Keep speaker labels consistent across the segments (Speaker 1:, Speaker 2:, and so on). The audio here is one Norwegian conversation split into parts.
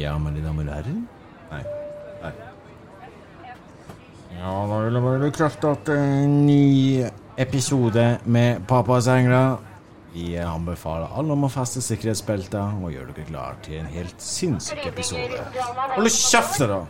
Speaker 1: Ja, mine damer og herrer. Nei. Nei.
Speaker 2: Ja, da vil jeg bare bekrefte at en ny episode med Papas engler Vi anbefaler alle om å feste sikkerhetsbelter og gjør dere klar til en helt sinnssyk episode. Hold kjeft, da!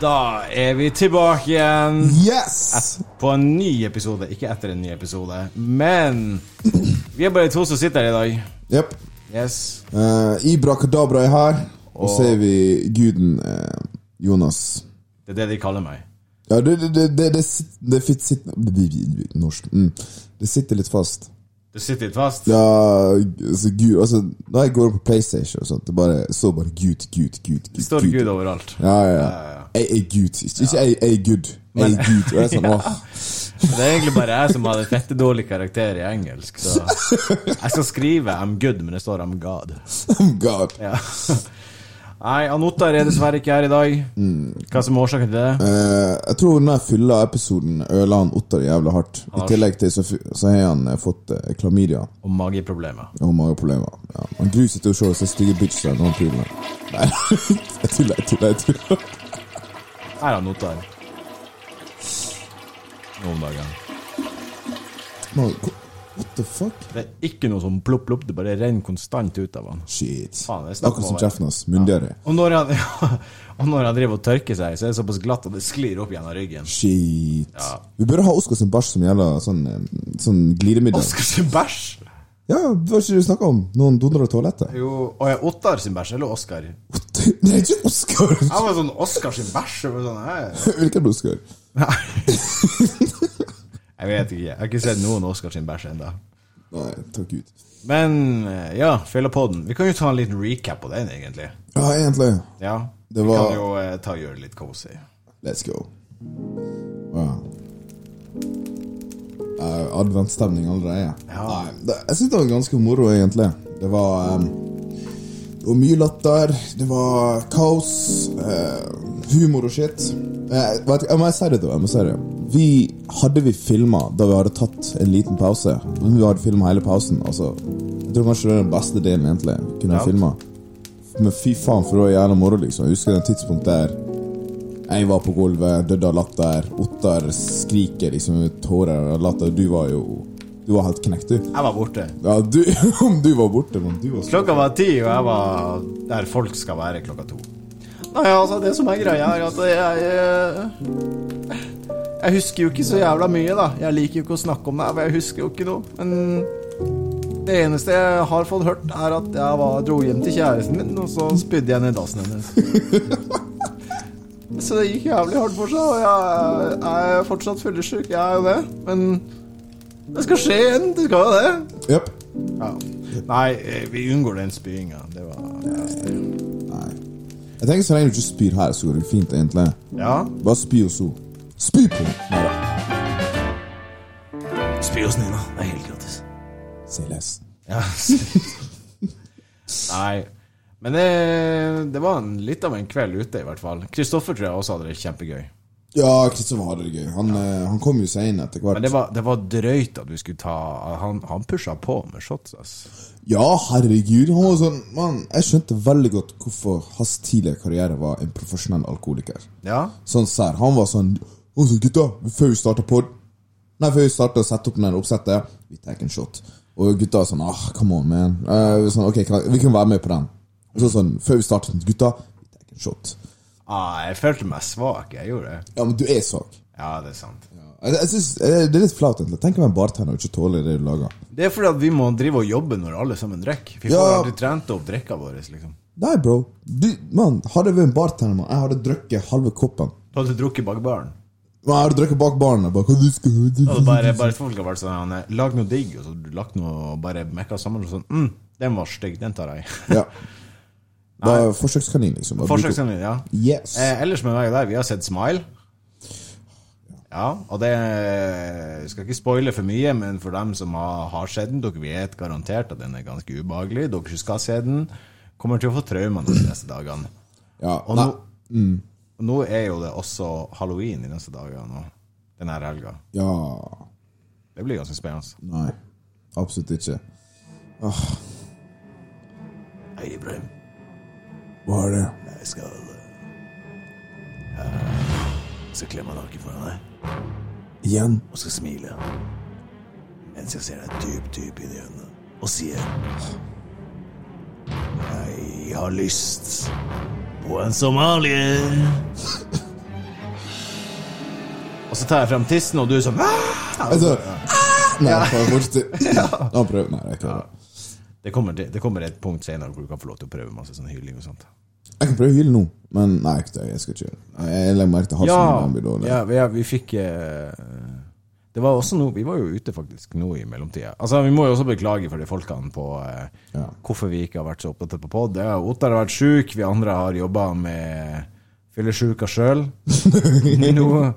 Speaker 2: Da er vi tilbake igjen
Speaker 3: Yes!
Speaker 2: på en ny episode. Ikke etter en ny episode, men vi er bare to som sitter her i dag.
Speaker 3: Jepp.
Speaker 2: Yes.
Speaker 3: Eh, Ibra Kadabra er her, og så er vi guden eh, Jonas.
Speaker 2: Det er det de kaller meg.
Speaker 3: Ja, det, det, det, det, det, sit- det fit, sit, Norsk. Mm. Det sitter litt fast.
Speaker 2: Du sitter litt fast.
Speaker 3: Ja, altså, Gud, altså, da jeg går på PlayStation, og sånt, det bare, så bare Gud, Gud, Gud.
Speaker 2: Det står Gud overalt.
Speaker 3: Ja, ja, ja. Jeg er Gud. Ikke ikke jeg jeg er Gud. Jeg er Gud. Og det er sånn, åh.
Speaker 2: Det er egentlig bare jeg som hadde fette dårlig karakter i engelsk. Så jeg skal skrive 'I'm good', men det står 'I'm God'.
Speaker 3: oh God.
Speaker 2: Ja. Nei, Anotar er dessverre ikke her i dag. Hva som er årsaken til det?
Speaker 3: Eh, jeg tror den fylla episoden ødela han Ottar jævlig hardt. I tillegg til så, f- så har han eh, fått eh, klamydia
Speaker 2: Og mageproblemer.
Speaker 3: og mageproblemer. Ja. Han gruer seg til å se så stygge bitchene når han puler. Nei, jeg tuller, jeg tuller. jeg tuller
Speaker 2: Her er Anotar. Noen dager.
Speaker 3: Man, hva- What the fuck?
Speaker 2: Det er ikke noe sånn plopp, plopp. Det bare renner konstant ut av han.
Speaker 3: Shit.
Speaker 2: Faen, det er snakk om
Speaker 3: Akkurat som
Speaker 2: å være-
Speaker 3: kjeften hans. Myndigere.
Speaker 2: Og når han, og når han driver og tørker seg, så er det såpass glatt at det sklir opp gjennom ryggen.
Speaker 3: Shit.
Speaker 2: Ja.
Speaker 3: Vi burde ha Oskar sin bæsj som gjelder sånn, eh, sånn glidemiddel.
Speaker 2: Oskar sin bæsj!
Speaker 3: Ja, det var ikke det du snakka om? Noen donerer toalettet?
Speaker 2: Jo, og jeg Ottar sin bæsj, eller Oskar? Jeg
Speaker 3: Nei, ikke Oskar!
Speaker 2: var sånn Oskar sin bæsj. Jeg var sånn, «Hæ?»
Speaker 3: Hvilken Oskar?
Speaker 2: Jeg vet ikke. Jeg har ikke sett noen Oskar sin bæsj ennå.
Speaker 3: Nei, takk Gud.
Speaker 2: Men eh, ja, fyllepodden. Vi kan jo ta en liten recap på den, egentlig.
Speaker 3: Ja, egentlig.
Speaker 2: Ja.
Speaker 3: Det
Speaker 2: Vi
Speaker 3: var-
Speaker 2: kan jo eh, ta og gjøre det litt cozy.
Speaker 3: Let's go. Wow. Eh, adventstemning allerede.
Speaker 2: Ja.
Speaker 3: Nei, det, jeg syns det var ganske moro, egentlig. Det var eh, Det var mye latter, det var kaos, eh, humor og shit. Eh, vet, du, jeg må si det, da. Jeg må si det. Vi, hadde vi filma da vi hadde tatt en liten pause men Vi hadde filma hele pausen. Altså, jeg tror kanskje det er den beste delen, egentlig. vi Kunne
Speaker 2: Ja.
Speaker 3: filma. Men fy faen, for det var jævla moro, liksom. Jeg husker det tidspunktet der jeg var på gulvet, døde av latter. Ottar skriker liksom ut tårer av latter. Du var jo Du var helt knekt, du.
Speaker 2: Jeg var borte.
Speaker 3: Ja, du, om du var borte, men du var så
Speaker 2: Klokka var ti, og jeg var der folk skal være klokka to. Nei, altså, det som er greia, er at jeg eh, Jeg husker jo ikke så jævla mye, da. Jeg liker jo ikke å snakke om det, for jeg husker jo ikke noe. Men det eneste jeg har fått hørt, er at jeg var, dro hjem til kjæresten min, og så spydde jeg ned dassen hennes. Så det gikk jævlig hardt for seg, og jeg er fortsatt fyllesyk. Jeg er jo det. Men det skal skje igjen. Det skal jo det.
Speaker 3: Japp.
Speaker 2: Ja. Nei, eh, vi unngår den spyinga. Det var
Speaker 3: Nei. Jeg tenker så lenge du ikke spyr her, så går det fint, egentlig.
Speaker 2: Ja.
Speaker 3: Bare spy og så. Spy på den! Nei da.
Speaker 2: Spy hos Nina. Det er helt gratis.
Speaker 3: Si les.
Speaker 2: Ja. Nei. Men eh, det, det var en, litt av en kveld ute, i hvert fall. Kristoffer tror jeg også hadde det kjempegøy.
Speaker 3: Ja, Kristoffer hadde det gøy. Han, eh, han kom jo seg inn etter hvert.
Speaker 2: Men det var, det var drøyt at du skulle ta Han, han pusha på med shots, ass.
Speaker 3: Ja, herregud. Han var sånn Mann, jeg skjønte veldig godt hvorfor hans tidligere karriere var en profesjonell alkoholiker.
Speaker 2: Ja.
Speaker 3: Sånn sær. Han var sånn «Å, så gutta, før vi starter pod Nei, før vi starter å sette opp den her oppsettet, vi tar en shot. Og gutta var sånn ah, come on, man. Eh, sånn, ok, kan, Vi kan være med på den. Og så sånn, før vi starter, sånn, gutta, vi tar en shot.
Speaker 2: Ah, jeg følte meg svak. Jeg gjorde det.
Speaker 3: Ja, men du er svak.
Speaker 2: Ja, det er sant.
Speaker 3: Jeg, jeg synes, eh, Det er litt flaut, egentlig. Tenk å være bartender og ikke tåle det du lager.
Speaker 2: Det er fordi at vi må drive og jobbe når alle sammen drikker. Vi får
Speaker 3: Ja.
Speaker 2: aldri trent opp drikka vår, liksom.
Speaker 3: Nei, bro. Du, mann, hadde jeg vært en bartender, mann, jeg hadde drukket halve koppen.
Speaker 2: Du hadde drukket bak baren.
Speaker 3: Men jeg hadde drukket bak baren. jeg Bare, «Hva du skal
Speaker 2: Og bare, bare folk har vært sånn han, Lag noe digg, og så har du lagt noe og bare mekka sammen og sånn mm, Den var stygg, den tar jeg.
Speaker 3: Ja. Det er forsøkskanin, liksom. Bare bruk
Speaker 2: Eh,
Speaker 3: opp.
Speaker 2: Forsøkskandidat, ja.
Speaker 3: Yes.
Speaker 2: Eh, ellers med meg og deg, vi har sett Smile. Ja, og det jeg skal ikke spoile for mye, men for dem som har, har sett den, dere vet garantert at den er ganske ubehagelig. Dere som skal se den, kommer til å få traumer de neste dagene.
Speaker 3: Ja,
Speaker 2: Og nå,
Speaker 3: nei,
Speaker 2: og nå er jo det også halloween de neste dagene og denne helga.
Speaker 3: ja,
Speaker 2: Det blir ganske spennende.
Speaker 3: nei. Absolutt ikke.
Speaker 2: Hei, Ibrahim.
Speaker 3: Hva er det?
Speaker 2: Jeg skal Jeg skal klemme nakken foran deg
Speaker 3: Igjen?
Speaker 2: og skal smile. Mens jeg ser deg dypt, dypt inn i øynene og sier Jeg har lyst på en somalier. Og så tar jeg fram tissen, og du er sånn
Speaker 3: Altså, nei, faen, fortsett. Nå prøver Nei, jeg klarer det.
Speaker 2: det kommer, til- det kommer et punkt senere hvor du kan få lov til å prøve masse sånn hyling og sånt.
Speaker 3: Jeg kan prøve å hyle nå, men nei, jeg, jeg skal ikke gjøre det. Jeg legger merke til halsen min den blir dårlig.
Speaker 2: ja, vi- ja, vi fikk eh, Det var også noe Vi var jo ute faktisk nå i mellomtida. Altså, vi må jo også beklage for de folkene på eh,
Speaker 3: Ja.
Speaker 2: hvorfor vi ikke har vært så oppdatert på pod. Ja, Ottar har vært sjuk, vi andre har jobba med fyllesjuka sjøl. Nå-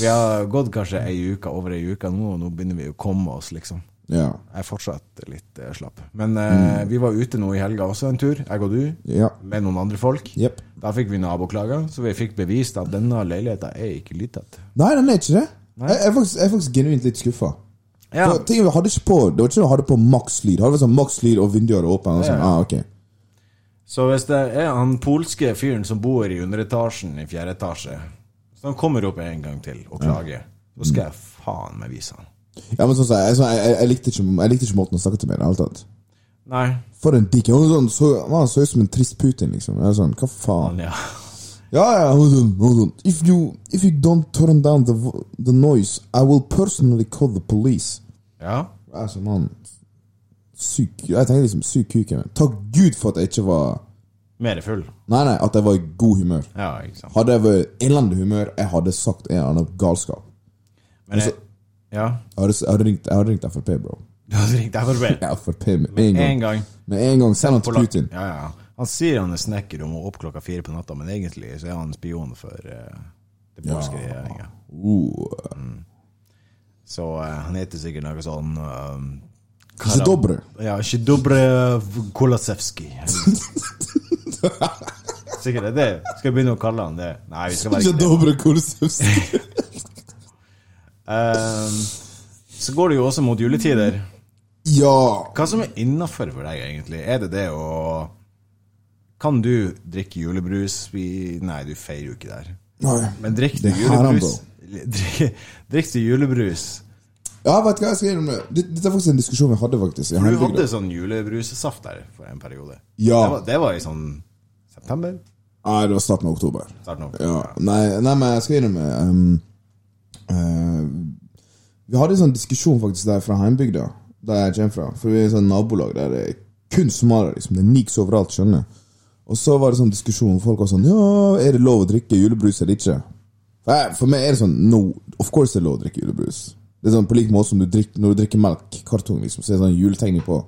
Speaker 2: Vi har gått kanskje ei uke over ei uke nå, og nå begynner vi å komme oss, liksom.
Speaker 3: Ja.
Speaker 2: Jeg er fortsatt litt eh, slapp. Men eh, vi var ute nå i helga også en tur, jeg og du,
Speaker 3: Ja.
Speaker 2: med noen andre folk.
Speaker 3: Jepp.
Speaker 2: Da fikk vi naboklager, så vi fikk bevist at denne leiligheten er ikke lyttet.
Speaker 3: Nei, den er ikke det. Jeg, jeg, er faktisk, jeg er faktisk genuint litt skuffa.
Speaker 2: Ja.
Speaker 3: For Ting vi hadde ikke på Det var ikke noe vi hadde på makslyd. Det var sånn makslyd og vinduer er åpne. og Sånn. Ah, ok.
Speaker 2: Så hvis det er han polske fyren som bor i underetasjen i fjerde etasje, så han kommer opp en gang til og klager, så skal jeg faen meg vise han.
Speaker 3: Ja, men sånn sa jeg, sånn, jeg, jeg, jeg, likte ikke, jeg likte ikke måten han snakket til meg i det hele tatt.
Speaker 2: Nei.
Speaker 3: For en dick. Han sånn, så, han så ut som en trist Putin, liksom. Jeg var sånn, Hva faen?
Speaker 2: Han, ja.
Speaker 3: Ja, ja, sånn, hold on, hold on. If you, if you don't turn down the, vo- the noise, I will personally call the police.
Speaker 2: ja.
Speaker 3: Jeg er sånn, mann Syk Jeg tenker liksom, syk kuk. jeg, men. Takk Gud for at jeg ikke var
Speaker 2: Mer full.
Speaker 3: Nei, nei, at jeg var i god humør.
Speaker 2: Ja, ikke sant.
Speaker 3: Hadde jeg vært i elendig humør, jeg hadde sagt en eller annen galskap.
Speaker 2: Men jeg, ja.
Speaker 3: Jeg hadde, jeg hadde, ringt, jeg hadde ringt Frp, bro.
Speaker 2: Du hadde ringt FrB.
Speaker 3: Ja, Frp med en gang.
Speaker 2: En gang.
Speaker 3: Med en gang, Send han til
Speaker 2: Polakker.
Speaker 3: Putin.
Speaker 2: Ja, ja. Han sier han er snekker og må opp klokka fire på natta, men egentlig så er han spion for eh, det polske regjeringa.
Speaker 3: Uh.
Speaker 2: Så eh, han heter sikkert noe sånn eh,
Speaker 3: Ikke dobre.
Speaker 2: Ja, ikke dobre Kolasevski. Sikkert er det. Skal jeg begynne å kalle han det? Nei, vi skal være
Speaker 3: Ikke
Speaker 2: ikke det.
Speaker 3: dobre Kulisevskij.
Speaker 2: Eh, så går det jo også mot juletider.
Speaker 3: Ja.
Speaker 2: Hva som er innafor for deg, egentlig? Er det det å Kan du drikke julebrus? Vi, nei, du feirer jo ikke der.
Speaker 3: Nei.
Speaker 2: Men drikk du
Speaker 3: Det her er
Speaker 2: julebrus drikk, drikk du julebrus
Speaker 3: Ja, vet du hva jeg skal innrømme? det? Dette er faktisk en diskusjon vi hadde, faktisk. i
Speaker 2: For du
Speaker 3: Hamburg.
Speaker 2: hadde sånn julebrusesaft der for en periode
Speaker 3: Ja.
Speaker 2: Det var, det var i sånn september?
Speaker 3: Nei, det var starten av oktober.
Speaker 2: Starten av
Speaker 3: Ja. Nei, nei, men jeg skal innrømme ehm, eh, Vi hadde en sånn diskusjon faktisk der fra heimbygda, der jeg kommer fra. For vi er et sånn nabolag der det er kun somaliere. Liksom. Det er niks overalt, skjønner du. Og så var det sånn diskusjon, folk var sånn Ja, er det lov å drikke julebrus eller ikke? For, jeg, for meg er det sånn No, of course det er lov å drikke julebrus. Det er sånn På lik måte som du drikker, når du drikker melk, kartong, liksom, så er det sånn juletegning på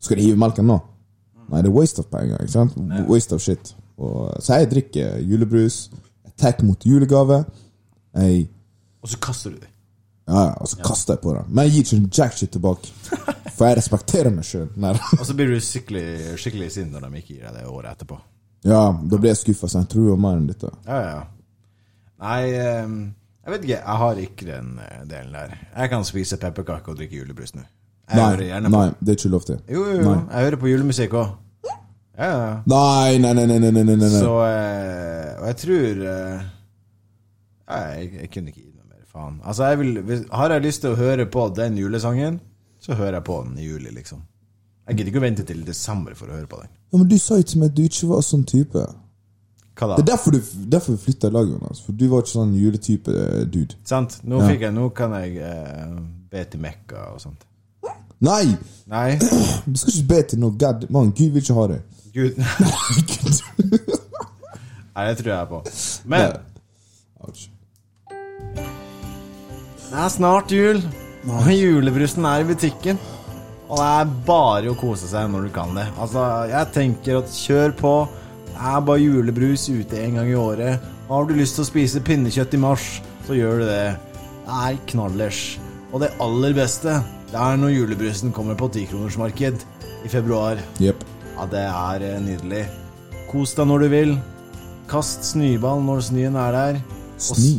Speaker 3: Skal du hive melken nå? Nei, det er waste of penger, ikke sant? Waste of shit. Og, så jeg drikker julebrus, jeg tar imot julegave, jeg
Speaker 2: Og så kaster du det
Speaker 3: ja, ja, og så kaster jeg på det. Men jeg gir ikke en jack shit tilbake. For jeg respekterer meg sjøl.
Speaker 2: Og så blir du skikkelig, skikkelig sint når de ikke gir deg det året etterpå
Speaker 3: Ja, da blir jeg skuffa, så jeg tror jo mer enn dette.
Speaker 2: Ja, ja Nei, eh, jeg vet ikke Jeg har ikke den eh, delen der Jeg kan spise pepperkake og drikke julebrus nå Jeg hører
Speaker 3: Nei,
Speaker 2: gjerne på
Speaker 3: nei, det er ikke lov til.
Speaker 2: Jo, jo, jo Jeg hører på julemusikk også Ja, ja, ja
Speaker 3: Nei, nei, nei, nei, nei, nei, nei, nei.
Speaker 2: Så eh, Og jeg tror eh, Nei, jeg, jeg kunne ikke gi noe mer faen. Altså, jeg vil, hvis, har jeg lyst til å høre på den julesangen, så hører jeg på den i juli, liksom. Jeg gidder ikke å vente til desember for å høre på den.
Speaker 3: Ja, men du sa jo til meg at du ikke var sånn type.
Speaker 2: Hva
Speaker 3: Det er
Speaker 2: da?
Speaker 3: derfor du derfor vi flytta i lag, Jonas. For du var ikke sånn juletype eh, dude.
Speaker 2: Sant? Nå, fikk jeg, nå kan jeg eh, be til Mekka og sånt.
Speaker 3: Nei!
Speaker 2: Nei,
Speaker 3: Du skal ikke be til noe gad. Mann, Gud vil ikke ha det.
Speaker 2: Gud Nei, det tror jeg på. Men
Speaker 3: Ouch.
Speaker 2: det er snart jul, og julebrusen er i butikken. Og det er bare å kose seg når du kan det. Altså, jeg tenker at kjør på. Det er bare julebrus ute en gang i året. Har du lyst til å spise pinnekjøtt i mars, så gjør du det. er knallers. Og det aller beste, det er når julebrusen kommer på tikronersmarked i februar.
Speaker 3: Jepp.
Speaker 2: Ja, det er eh, nydelig. Kos deg når du vil. Kast snøball når snøen er der. Og s-
Speaker 3: Sni.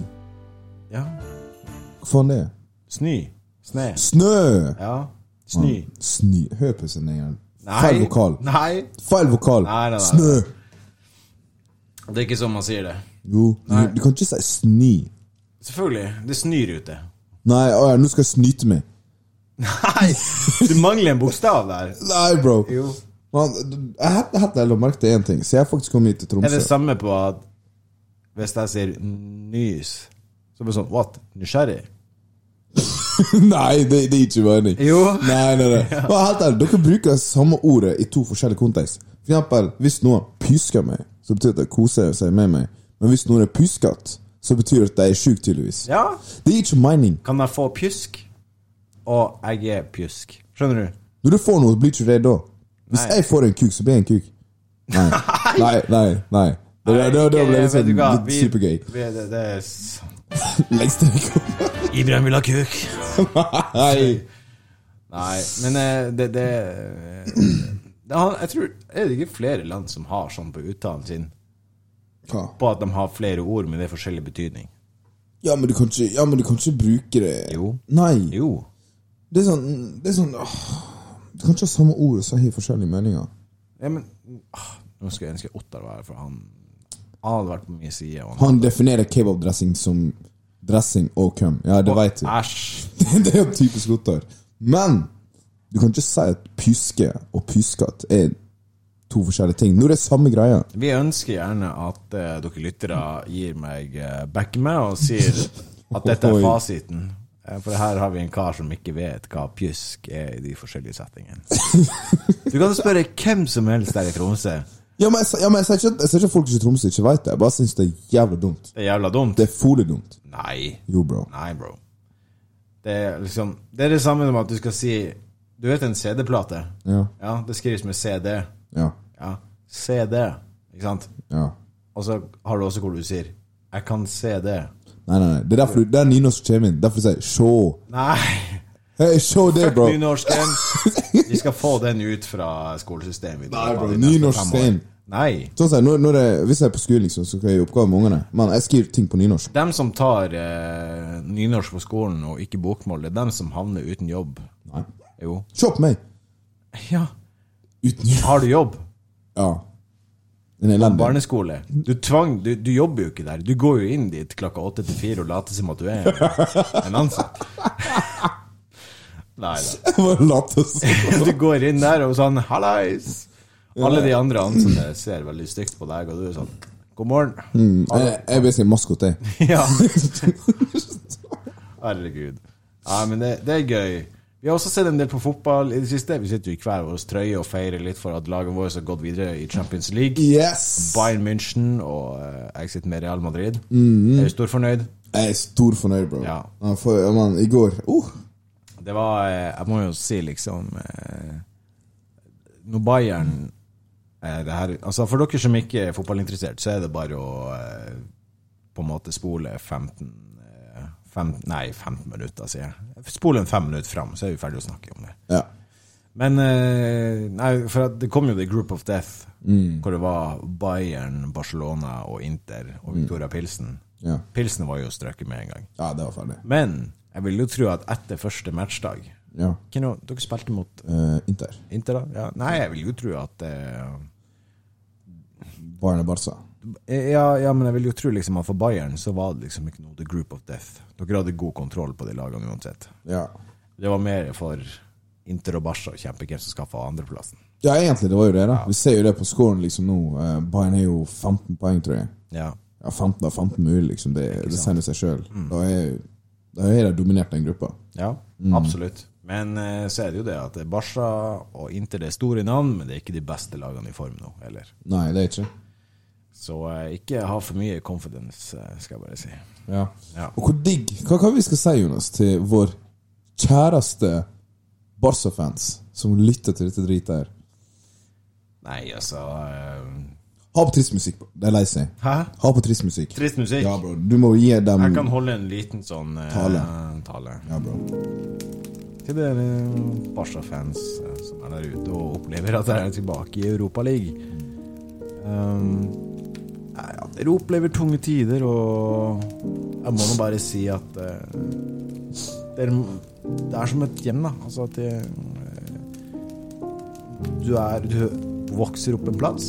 Speaker 2: Ja.
Speaker 3: Hva faen er det?
Speaker 2: Snø. Snø.
Speaker 3: Snø!
Speaker 2: Ja. Snø.
Speaker 3: Sni. Hør på sin egen. Mm. Feil vokal.
Speaker 2: Nei.
Speaker 3: Feil vokal.
Speaker 2: Nei, nei, nei.
Speaker 3: Snø!
Speaker 2: Det er ikke sånn man sier det.
Speaker 3: Jo, du, du kan ikke si sni.
Speaker 2: Selvfølgelig. Det snør ute.
Speaker 3: Nei, å ja, nå skal jeg snyte meg.
Speaker 2: Nei! Du mangler en bokstav der.
Speaker 3: Nei, bro.
Speaker 2: Jo.
Speaker 3: Man, jeg hadde- jeg hadde lagt merke til én ting, så jeg faktisk kom hit til
Speaker 2: Er det
Speaker 3: Tromsø.
Speaker 2: samme på at hvis jeg sier nys, så blir det sånn What? Nysgjerrig?
Speaker 3: nei, det, det er ikke mening.
Speaker 2: Jo.
Speaker 3: Nei, nei, nei. Men helt ærlig, dere bruker samme ordet i to forskjellige kontekst. For eksempel, hvis noen pysker meg, så betyr det at de koser seg med meg. Men hvis noen er pyskete, så betyr det at de er sjuke, tydeligvis.
Speaker 2: Ja.
Speaker 3: Det er ikke mening.
Speaker 2: Kan jeg få pjusk? Og jeg er pjusk. Skjønner du?
Speaker 3: Når du får noe, blir ikke det da. Hvis
Speaker 2: Nei.
Speaker 3: jeg får en kuk, så blir jeg en kuk. Nei, nei, nei. nei. Det, det, det, det ble
Speaker 2: Vet
Speaker 3: liksom
Speaker 2: du hva?
Speaker 3: litt
Speaker 2: Vi-
Speaker 3: supergøy.
Speaker 2: vi- Det, det er s-
Speaker 3: Legg strek opp.
Speaker 2: Ibrahim vil ha kuk.
Speaker 3: Nei.
Speaker 2: Nei, men eh, det, det, eh, det han- Jeg tror Er det ikke flere land som har sånn på uttalen sin?
Speaker 3: Hva?
Speaker 2: På at de har flere ord, men det er forskjellig betydning?
Speaker 3: Ja, men du kan ikke, ja, men du kan ikke bruke det.
Speaker 2: Jo.
Speaker 3: Nei.
Speaker 2: Jo.
Speaker 3: Det er sånn, det er sånn åh. Du kan ikke ha samme ord og så har forskjellige meninger.
Speaker 2: Ja, men ah, Nå skulle jeg ønske Ottar var her, for han, han hadde vært på min side. Og han,
Speaker 3: Han definerer kebabdressing som dressing og køm. Ja, det vet du.
Speaker 2: Æsj!
Speaker 3: Det er jo typisk Ottar. Men du kan ikke si at pyske og pyskat er to forskjellige ting. Nå er det samme greia.
Speaker 2: Vi ønsker gjerne at eh, dere lyttere gir meg eh, backer meg og sier at dette er
Speaker 3: Oi.
Speaker 2: fasiten. Eh, For her har vi en kar som ikke vet hva pjusk er i de forskjellige settingene. Du kan spørre hvem som helst der i Tromsø.
Speaker 3: Ja, men jeg, sa- ja, men jeg sier ikke, jeg sier ikke at folk i Tromsø ikke vet det. Jeg bare syns det er jævlig dumt.
Speaker 2: Det er jævla dumt.
Speaker 3: Det er folig dumt.
Speaker 2: Nei.
Speaker 3: Jo, bro.
Speaker 2: Nei, bro. Det er liksom Det er det samme som at du skal si Du vet en CD-plate?
Speaker 3: Ja.
Speaker 2: Ja, det skrives med CD.
Speaker 3: Ja.
Speaker 2: Ja. CD, ikke sant?
Speaker 3: ja.
Speaker 2: Og så har du også hvor du sier 'jeg kan se det'.
Speaker 3: Nei, nei, nei. Det er derfor du, det er nynorsk som kommer inn. Derfor sier jeg 'sjå'.
Speaker 2: Nei!
Speaker 3: Hei, sjå det, bro.
Speaker 2: Nynorsken. Vi skal få den ut fra skolesystemet.
Speaker 3: Nei, bro, nynorsk
Speaker 2: Fem år.
Speaker 3: stein.
Speaker 2: Nei.
Speaker 3: Sånn sier jeg, når, når jeg, Hvis jeg er på skolen, liksom, så skal jeg gjøre oppgave med ungene. Men jeg skriver ting på nynorsk.
Speaker 2: Dem som tar eh, nynorsk på skolen og ikke bokmål, det er dem som havner uten jobb.
Speaker 3: Nei.
Speaker 2: Jo.
Speaker 3: Se på meg!
Speaker 2: Ja.
Speaker 3: Uten jobb.
Speaker 2: Har du jobb?
Speaker 3: Ja. Den er elendig.
Speaker 2: Barneskole. Du tvang Du, du jobber jo ikke der. Du går jo inn dit klokka åtte til fire og later som at du er en ansatt. Nei da.
Speaker 3: Jeg var lat og så-
Speaker 2: Du går inn der og sånn 'hallais'. Alle de andre ansatte ser veldig stygt på deg, og du er sånn 'god
Speaker 3: Mm.
Speaker 2: morgen'.
Speaker 3: Jeg jeg er basically maskot, jeg.
Speaker 2: Ja. Herregud. Nei, men det, det er gøy. Vi har også sett en del på fotball i det siste. Vi sitter jo i hver vår trøye og feirer litt for at laget vårt har gått videre i Champions League.
Speaker 3: Yes!
Speaker 2: Bayern München og eh, jeg sitter med Real Madrid. Er du storfornøyd?
Speaker 3: Jeg er stor fornøyd, bro.
Speaker 2: Ja.
Speaker 3: Ja, For, ja, man, I går uh,
Speaker 2: Det var eh, Jeg må jo si, liksom eh, Når Bayern eh, det her, altså For dere som ikke er fotballinteressert, så er det bare å eh, på en måte spole 15 eh, fem, Nei, 15 minutter, sier jeg. Spole en fem minutter fram, så er vi ferdig å snakke om det.
Speaker 3: Ja.
Speaker 2: Men eh, Nei, for at det kom jo The Group of Death, hvor det var Bayern, Barcelona og Inter og Victoria Pilsen.
Speaker 3: Ja.
Speaker 2: Pilsen var jo strøket med en gang.
Speaker 3: ja, det var ferdig.
Speaker 2: Men jeg vil jo tro at etter første matchdag
Speaker 3: Ja.
Speaker 2: Hvem nå- dere spilte mot
Speaker 3: Eh, Inter.
Speaker 2: Inter, da? Ja. Nei, jeg vil jo tro at eh,
Speaker 3: Bayern og Barca.
Speaker 2: ja, ja, men jeg vil jo tro liksom at for Bayern så var det liksom ikke noe the group of death. Dere hadde god kontroll på de lagene uansett.
Speaker 3: Ja.
Speaker 2: Det var mer for Inter og Barca å kjempe hvem som skaffa andreplassen.
Speaker 3: ja, egentlig, det var jo det, da. Vi ser jo det på scoren liksom nå. Eh, Bayern er jo 15 poeng, tror jeg.
Speaker 2: Ja.
Speaker 3: Ja, 15 av 15 mulig, liksom. Det, det sier seg sjøl.
Speaker 2: Mm.
Speaker 3: Da er da er de dominert den gruppa.
Speaker 2: ja absolutt. Men eh, så er det jo det at Barca og Inter det er store navn, men det er ikke de beste lagene i form nå heller.
Speaker 3: Nei, det er ikke.
Speaker 2: Så eh, ikke ha for mye confidence, eh, skal jeg bare si.
Speaker 3: Ja.
Speaker 2: Ja.
Speaker 3: Og hvor digg Hva hva vi skal si, Jonas, til vår kjæreste Barca-fans som lytter til dette dritet her?
Speaker 2: Nei, altså eh,
Speaker 3: Ha på trist musikk. bro. De er lei seg.
Speaker 2: Hæ?
Speaker 3: Ha på trist musikk.
Speaker 2: Trist musikk.
Speaker 3: Ja, bro. Du må gi dem
Speaker 2: Jeg kan holde en liten sånn eh,
Speaker 3: Mm. Tale.
Speaker 2: tale.
Speaker 3: Ja, bro.
Speaker 2: Til dere eh, Barca-fans eh, som er der ute og opplever at dere er tilbake i Europaligaen. Um, nei, ja, dere opplever tunge tider, og jeg må nå bare si at eh, dere, Det er som et hjem, da. Altså at det, eh, du er Du vokser opp en plass,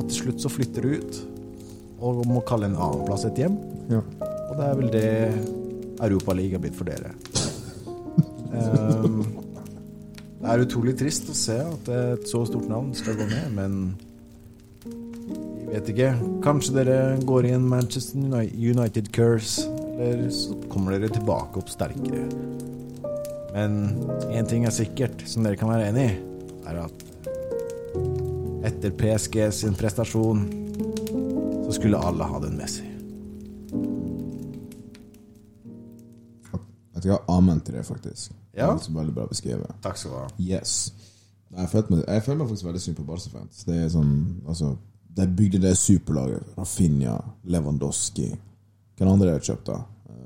Speaker 2: og til slutt så flytter du ut. Og må kalle en annen plass et hjem.
Speaker 3: Ja.
Speaker 2: Og det er vel det Europaligaen har blitt for dere. Ehm, det er utrolig trist å se at et så stort navn skal gå ned, men vi vet ikke. Kanskje dere går i en Manchester Uni- United curse, eller så kommer dere tilbake opp sterkere. Men én ting er sikkert, som dere kan være enig i, er at etter PSG sin prestasjon, så skulle alle ha den Messi.
Speaker 3: Jeg tror jeg har amen til det, faktisk.
Speaker 2: Ja.
Speaker 3: Det er veldig bra beskrevet.
Speaker 2: Takk skal du ha.
Speaker 3: Yes. Nei, Jeg føler meg, jeg føler meg faktisk veldig synd på Barca-fans. Det er sånn, altså De bygde det superlaget. Rafinha, Lewandowski Hvem andre har kjøpt, da?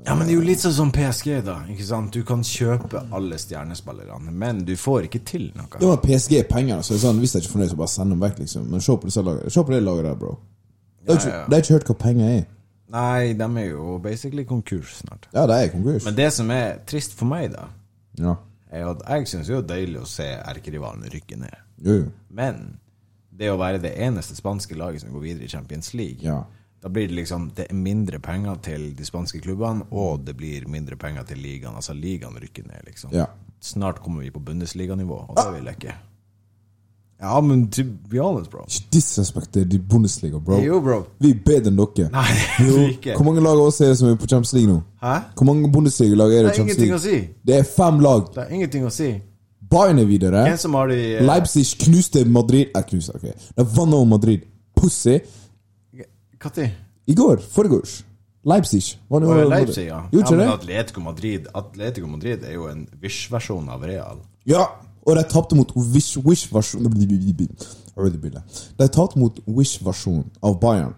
Speaker 2: Ja, men det er jo litt sånn som PSG, da. Ikke sant? Du kan kjøpe alle stjernespillerne, men du får ikke til
Speaker 3: Det
Speaker 2: noe.
Speaker 3: var PSG-penger. Så det er sånn, Hvis jeg ikke er fornøyd, så bare send dem vekk, liksom. Men se på, disse lagene. se på det laget der, bro. De har ikke,
Speaker 2: Ja, ja.
Speaker 3: de har ikke hørt hva penger er.
Speaker 2: Nei, de er jo basically konkurs snart.
Speaker 3: Ja, de er konkurs.
Speaker 2: Men det som er trist for meg, da,
Speaker 3: Ja.
Speaker 2: er jo at jeg syns jo det er deilig å se erkerivalene rykke ned.
Speaker 3: Jo, jo.
Speaker 2: Men det å være det eneste spanske laget som går videre i Champions League
Speaker 3: Ja.
Speaker 2: Da blir det liksom Det er mindre penger til de spanske klubbene, og det blir mindre penger til ligaen. Altså, ligaen rykker ned, liksom.
Speaker 3: Ja. Ah!
Speaker 2: Snart kommer vi på Bundesliga-nivå, og det vil jeg ikke. Ja, men to be honest, bro.
Speaker 3: Ikke disrespekter de Bundesliga, bro.
Speaker 2: Jo, bro.
Speaker 3: Vi er bedre enn dere.
Speaker 2: Nei, det
Speaker 3: Jo,
Speaker 2: er vi ikke.
Speaker 3: Hvor mange lag av oss er det som er på Champions League nå?
Speaker 2: Hæ?
Speaker 3: Hvor mange Bundesliga-lag er
Speaker 2: Det
Speaker 3: det?
Speaker 2: er
Speaker 3: i Champions
Speaker 2: ingenting å
Speaker 3: League?
Speaker 2: si.
Speaker 3: Det er fem lag.
Speaker 2: Det er ingenting å si.
Speaker 3: Bayern er videre.
Speaker 2: Hvem som har de eh,
Speaker 3: Leipzig knuste Madrid Jeg knuste, ok De vant over Madrid Pussy
Speaker 2: Katti?
Speaker 3: I går, foregårs Leipzig vant
Speaker 2: Å,
Speaker 3: over Madrid
Speaker 2: Leipzig, ja.
Speaker 3: Gjorde
Speaker 2: ja
Speaker 3: ikke
Speaker 2: men
Speaker 3: det?
Speaker 2: Atletico Madrid Atletico Madrid er jo en Wish-versjon av Real.
Speaker 3: Ja Og de tapte mot Wish Wish versjon De tapte mot Wish versjon av Bayern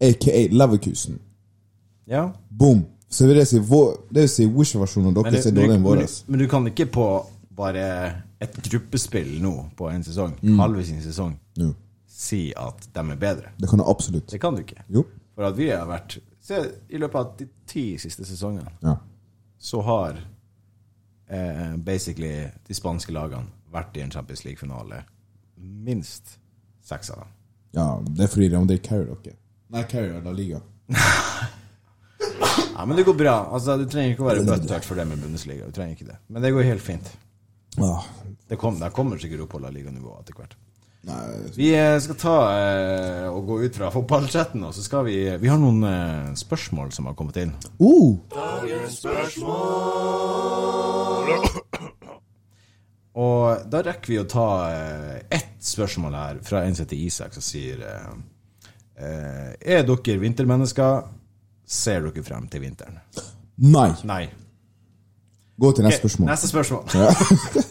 Speaker 3: A.k.a. Leverkusen
Speaker 2: Ja.
Speaker 3: Boom Så vil det si vår, Det vil si Wish versjonen av
Speaker 2: Men,
Speaker 3: dere
Speaker 2: du-
Speaker 3: er dårligere
Speaker 2: du, men,
Speaker 3: enn vår
Speaker 2: du, men du kan ikke på bare et gruppespill nå på en sesong,
Speaker 3: Mm.
Speaker 2: halve sin sesong,
Speaker 3: Jo
Speaker 2: si at de er bedre.
Speaker 3: Det kan jeg absolutt
Speaker 2: Det kan du ikke.
Speaker 3: Jo
Speaker 2: For at vi har vært Se, i løpet av de ti siste sesongene
Speaker 3: Ja
Speaker 2: så har eh, basically de spanske lagene vært i en Champions League-finale. Minst seks av dem.
Speaker 3: Ja Det er fordi de andre carrier dere Nei, carrier La Liga
Speaker 2: Ja, Men det går bra. Altså, Du trenger ikke å være bøttetørt for det med Bundesliga. Du trenger ikke det. Men det går helt fint.
Speaker 3: ah,
Speaker 2: Det, kom, det kommer sikkert opp på la liga-nivå etter hvert.
Speaker 3: Nei
Speaker 2: Vi eh, skal ta eh, og gå ut fra fotballchatten, og så skal vi Vi har noen eh, spørsmål som har kommet inn.
Speaker 3: Oh
Speaker 2: Og da rekker vi å ta eh, ett spørsmål her fra en som heter Isak, som sier eh, eh, Er dere vintermennesker? Ser dere frem til vinteren?
Speaker 3: Nei
Speaker 2: Nei.
Speaker 3: Gå til neste spørsmål.
Speaker 2: Neste spørsmål.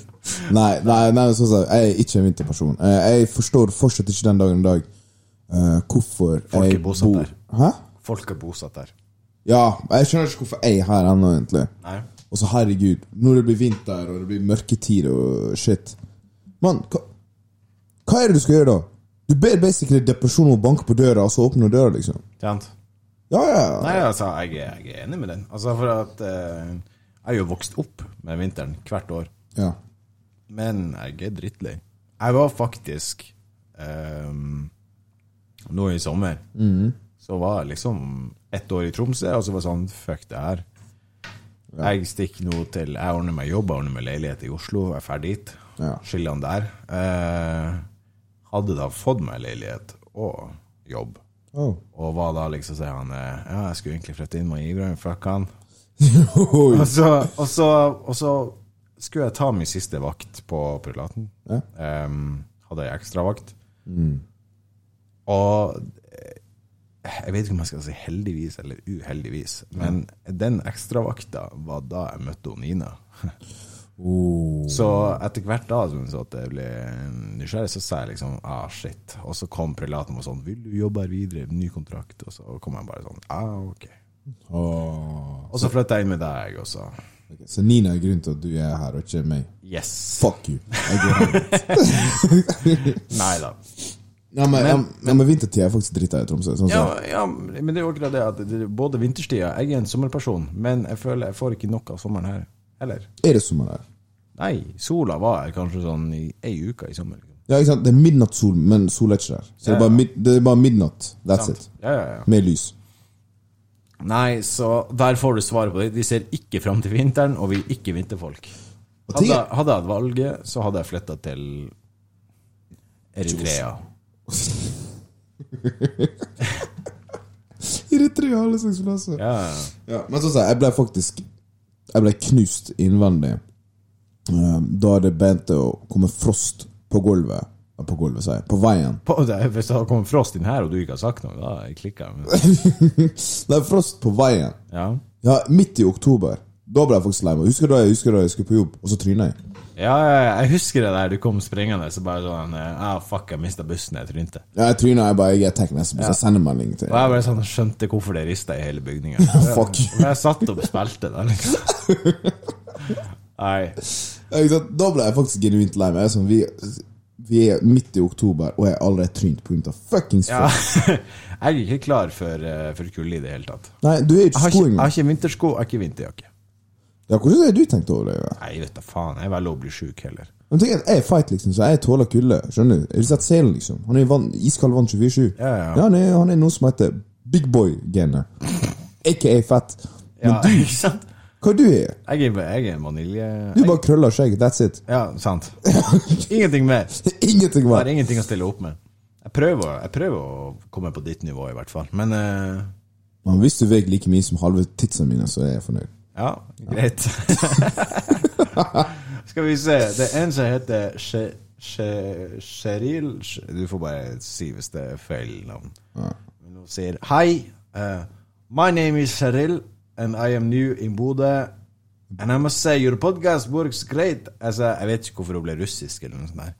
Speaker 3: Nei, nei, nei sånn sagt, jeg er ikke en vinterperson. Eh, Jeg forstår fortsatt ikke den dagen i dag eh, hvorfor
Speaker 2: Folk er
Speaker 3: jeg
Speaker 2: bosatt
Speaker 3: bor
Speaker 2: der.
Speaker 3: Hæ?
Speaker 2: Folk er bosatt der.
Speaker 3: Ja, jeg skjønner ikke hvorfor jeg er her ennå, egentlig.
Speaker 2: Nei.
Speaker 3: Og så herregud, når det blir vinter og det blir mørketid og shit Mann, hva, hva er det du skal gjøre da? Du ber basically depresjonen om å banke på døra, og så åpner du døra, liksom.
Speaker 2: Sant?
Speaker 3: Ja, ja, ja.
Speaker 2: Nei, altså, jeg, er- jeg er enig med den. Altså, for at eh, Jeg er jo vokst opp med vinteren hvert år.
Speaker 3: ja.
Speaker 2: Men jeg er drittlei. Jeg var faktisk ehm, Nå i sommer så var jeg liksom ett år i Tromsø, og så var det sånn Fuck det her. Jeg stikker nå til Jeg ordner meg jobb, jeg ordner meg leilighet i Oslo, jeg drar dit.
Speaker 3: Ja.
Speaker 2: Skillene der. Eh, hadde da fått meg leilighet og jobb.
Speaker 3: Oh.
Speaker 2: Og var da liksom sier han eh, Ja, jeg skulle egentlig flytte inn med Ibrahim, fuck han.
Speaker 3: Oi.
Speaker 2: Og så, og, så, og så skulle jeg ta min siste vakt på prelaten.
Speaker 3: Ja. Mm.
Speaker 2: Em, hadde jeg ekstravakt. Og eh, jeg vet ikke om jeg skal si heldigvis eller uheldigvis, men den ekstravakta var da jeg møtte hun Nina. Så etter hvert da som hun så at jeg ble nysgjerrig, så sa jeg liksom ah, shit. Og så kom prelaten og sånn 'Vil du jobbe her videre? Ny kontrakt?' Og så kom jeg bare sånn ah, ok.
Speaker 3: Åh.
Speaker 2: Og så flytta jeg inn med deg også.
Speaker 3: Ok, Så Nina er grunnen til at du er her, og ikke meg.
Speaker 2: Yes.
Speaker 3: Fuck you. Jeg går hjem.
Speaker 2: Nei da.
Speaker 3: Nei, men, men, men, vintertid er faktisk dritt her i Tromsø. Sånn
Speaker 2: Ja,
Speaker 3: som-
Speaker 2: ja, men det er jo akkurat det at det, både vinterstida Jeg er en sommerperson, men jeg føler jeg får ikke nok av sommeren her heller.
Speaker 3: Er det sommer her?
Speaker 2: Nei, sola var her kanskje sånn i ei uke i sommer. Liksom.
Speaker 3: Ja, ikke sant? Det er midnattssol, men sola er ikke der. Så det, er bare mid, det er bare midnatt. That's it.
Speaker 2: Ja, ja, ja.
Speaker 3: Med lys.
Speaker 2: Nei, så der får du svaret på det. De ser ikke fram til vinteren, og vi er ikke vinterfolk.
Speaker 3: Og
Speaker 2: Hadde,
Speaker 3: ting
Speaker 2: jeg-
Speaker 3: er-
Speaker 2: hadde jeg hatt valget, så hadde jeg flytta til Eritrea.
Speaker 3: I det treet alle slags plasser.
Speaker 2: Ja, ja, ja.
Speaker 3: Ja, men sånn, så jeg ble faktisk Jeg ble knust innvendig eh, da det begynte å komme frost på gulvet. eh, På gulvet, sier jeg. På veien.
Speaker 2: På- det- Hvis det hadde kommet frost inn her, og du ikke hadde sagt noe, da hadde jeg klikka. Men-
Speaker 3: Det er frost på veien.
Speaker 2: Ja.
Speaker 3: Ja, midt i oktober. Da ble jeg faktisk lei meg. Husker du da jeg husker da jeg skulle på jobb, og så tryna jeg?
Speaker 2: Ja, ja, ja, jeg husker det der du kom springende, så bare sånn eh, ah, Fuck, jeg mista bussen, jeg trynte.
Speaker 3: Ja, jeg tryna. Jeg bare jeg tar neste buss. Jeg sender melding til
Speaker 2: Og jeg bare sånn skjønte hvorfor det rista i hele bygninga.
Speaker 3: Fuck you.
Speaker 2: Men jeg satt og spilte der, liksom. Nei.
Speaker 3: Ja, ikke sant? Da ble jeg faktisk genuint lei meg. Jeg er Sånn, vi, vi er midt i oktober, og jeg har allerede trynt pga. fuckings
Speaker 2: Ja.
Speaker 3: frost.
Speaker 2: Jeg er ikke klar for, eh, for kulde i det hele tatt.
Speaker 3: Nei, du er
Speaker 2: Jeg
Speaker 3: jo ikke
Speaker 2: har ikke,
Speaker 3: skoing.
Speaker 2: jeg
Speaker 3: Ja,
Speaker 2: har ikke vintersko, jeg har ikke vinterjakke.
Speaker 3: hvordan har du tenkt over det? Ja?
Speaker 2: Nei, vet da faen. Jeg velger å bli sjuk heller.
Speaker 3: Men tenk at jeg er fight, liksom, så jeg tåler kulde. Skjønner du? Har du sett selen, liksom? Han er i vann, iskald vann 24-7.
Speaker 2: Ja, ja.
Speaker 3: han, er- han er noe som heter big boy-genet. Ikke er fett. Men
Speaker 2: Ja, ikke sant?
Speaker 3: hva du er?
Speaker 2: Jeg er, jeg er en vanilje...
Speaker 3: Du bare krøller skjegg. That's it.
Speaker 2: Ja, sant. Ingenting mer.
Speaker 3: Det er ingenting
Speaker 2: Jeg har
Speaker 3: mer.
Speaker 2: ingenting å stille opp med. Jeg prøver, å- jeg prøver å komme på ditt nivå, i hvert fall. Men eh,
Speaker 3: Men hvis du veier like mye som halve titsa mine, så er jeg fornøyd.
Speaker 2: ja, greit. Skal vi se. Det er en som heter She- She- Sheryl Sh- Du får bare si hvis det er feil navn. Men hun sier Hei, uh, my name is Cheryl, and I am new in Bodø. And I must say your podcast works great. Altså, jeg vet ikke hvorfor hun ble russisk eller noe sånt. der.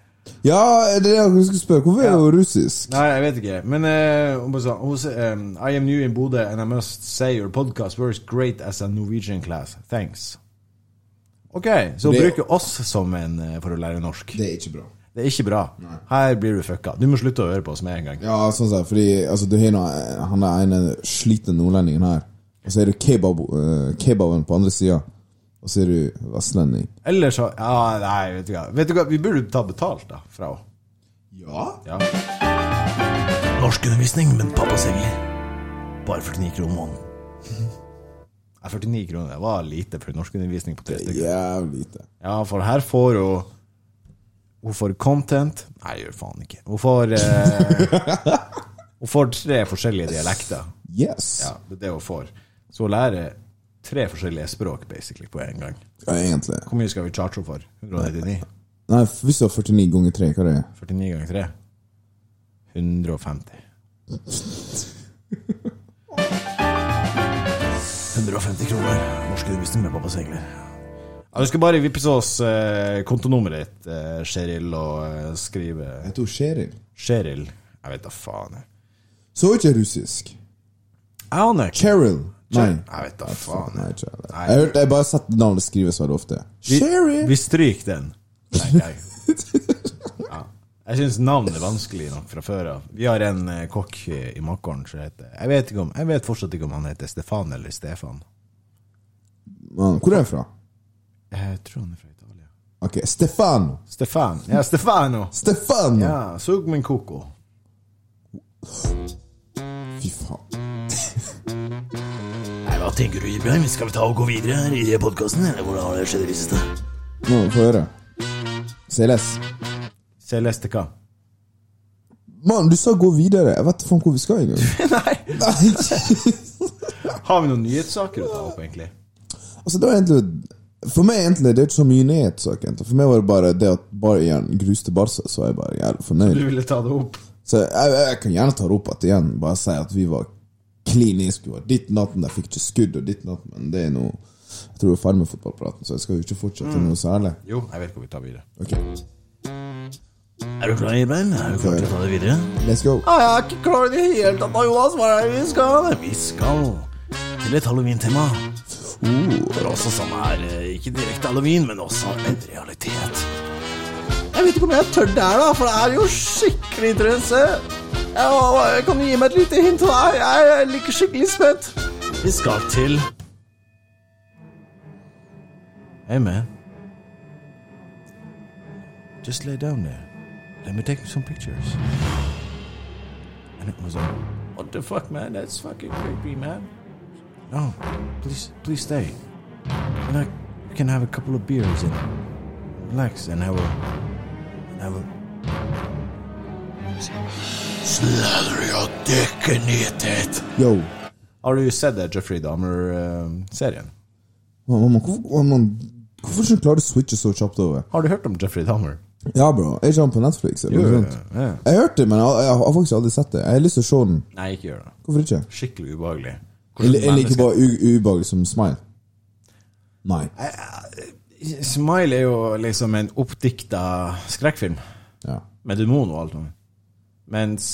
Speaker 3: Ja, det er det jeg skulle spørre. Hvorfor er du russisk?
Speaker 2: Nei, jeg vet ikke. Men eh, hun bare sa hun sa, ehm, I am new in Bodø, and I must say your podcast works great as a Norwegian class. Thanks. Ok, så hun
Speaker 3: Det-
Speaker 2: bruker oss som en eh, for å lære norsk.
Speaker 3: Det er ikke bra.
Speaker 2: Det er ikke bra. Her blir du fucka. Du må slutte å høre på oss med en gang.
Speaker 3: Ja, sånn sett, fordi altså, du har nå han der ene slitne nordlendingen her, og så er du kebab, eh, kebaben på andre sida, og så er du vestlending.
Speaker 2: Eller så Ja, nei, vet du hva. Vet du hva? Vi burde ta betalt, da, fra henne.
Speaker 3: Ja?
Speaker 2: Ja. Norskundervisning, men pappa selger. Bare 49 kroner måneden. Nei, 49 kroner det var lite for norskundervisning på tre stykker.
Speaker 3: Jævlig lite.
Speaker 2: Ja, for her får hun Hun får content Nei, gjør faen ikke. Hun får eh, Hun får tre forskjellige dialekter.
Speaker 3: Yes.
Speaker 2: Ja, det er det hun får. Så hun lærer tre forskjellige språk basically på en gang.
Speaker 3: Ja, egentlig.
Speaker 2: Hvor mye skal vi charge henne for? 199?
Speaker 3: Nei, hvis du har 49 ganger 3, hva er det?
Speaker 2: 49 ganger 3 150 150 kroner Norsk undervisning med pappa Segler ja, Du skal bare vippse oss eh, kontonummeret ditt eh, Cheryl og eh, skrive
Speaker 3: Jeg tror Sheryl.
Speaker 2: Cheryl Jeg vet da faen jeg.
Speaker 3: Så ikke russisk.
Speaker 2: Jeg aner ikke
Speaker 3: Cheryl. Nei.
Speaker 2: Jeg vet da faen
Speaker 3: Nei,
Speaker 2: jeg.
Speaker 3: ikke heller.
Speaker 2: Nei.
Speaker 3: Jeg har hørt- jeg har bare sett navnet skrives veldig ofte. Sheryl!
Speaker 2: Vi stryker den Nei, nei. Ja. Jeg synes navnet er vanskelig nok fra før av. Vi har en eh, kokk i Makkåren som heter jeg vet, ikke om, jeg vet fortsatt ikke om han heter Stefan eller Stefan.
Speaker 3: Ja, Hvor er jeg fra?
Speaker 2: Jeg tror han er fra Italia.
Speaker 3: Ok, Stefano.
Speaker 2: Stefan. Ja, Stefano.
Speaker 3: Stefano!
Speaker 2: Ja, Sug min koko.
Speaker 3: Fy faen.
Speaker 4: Nei, Hva tenker du, Ibrahim? Skal vi ta og gå videre her i podkasten? Hvordan har det skjedd i det siste?
Speaker 3: Nå får jeg høre. CLS.
Speaker 2: Celeste hva?
Speaker 3: Mann, du sa gå videre. Jeg vet faen hvor vi skal engang.
Speaker 2: Nei!
Speaker 3: Nei.
Speaker 2: Har vi noen nyhetssaker å ta opp, egentlig?
Speaker 3: altså, det var egentlig For meg egentlig, det er ikke så mye nyhetssak. egentlig. For meg var det bare det at bare igjen gruste Barca, så er jeg bare jævlig fornøyd.
Speaker 2: Du ville ta det opp?
Speaker 3: Så jeg, jeg kan gjerne ta det opp igjen igjen. Bare si at vi var kliniske. Vi var ditt natten, jeg fikk ikke skudd, og ditt natten, men det er noe Jeg tror vi er ferdig med fotballpraten, så jeg skal jo ikke fortsette noe særlig.
Speaker 2: Jo, jeg vet hvor vi tar videre.
Speaker 3: Ok,
Speaker 5: Er du klar, Ibrahim? Er du klar til å ta det videre?
Speaker 3: let's go.
Speaker 6: Nei, jeg er ikke klar i det hele tatt, da, Jonas. Hva er det vi skal?
Speaker 5: Vi skal til et halloween-tema. For også som er eh, ikke direkte halloween, men også en realitet.
Speaker 6: Jeg vet ikke om jeg tør det her, da, for det er jo skikkelig interesse. Jeg, jeg kan du gi meg et lite hint? Da? Jeg, jeg ligger skikkelig spent.
Speaker 5: Vi skal til Hey, man. Just lay down there. Let me take some pictures. And it was like,
Speaker 2: What the fuck, man? That's fucking creepy, man.
Speaker 5: no, please, please stay. And I we can have a couple of beers and relax, and I will, and I will
Speaker 2: Slather your dick and eat it.
Speaker 3: Yo.
Speaker 2: Har du sett det Jeffrey ehm, Dahmer-serien?
Speaker 3: Mamma, hvorfor, mamma, hvorfor ikke klarer du å switche så kjapt over?
Speaker 2: Har du hørt om Jeffrey Dahmer?
Speaker 3: Ja, bro. Er ikke han på Netflix? Eller noe sånt?
Speaker 2: ja.
Speaker 3: Jeg har hørt det, men jeg, jeg, har faktisk aldri sett det. Jeg har lyst til å se den.
Speaker 2: Nei, ikke gjør det.
Speaker 3: Hvorfor ikke?
Speaker 2: Skikkelig ubehagelig.
Speaker 3: Eller, eller ikke bare u- ubehagelig som smile. Nei.
Speaker 2: Smile er jo liksom en oppdikta skrekkfilm
Speaker 3: Ja.
Speaker 2: med demon og alt sånt. Mens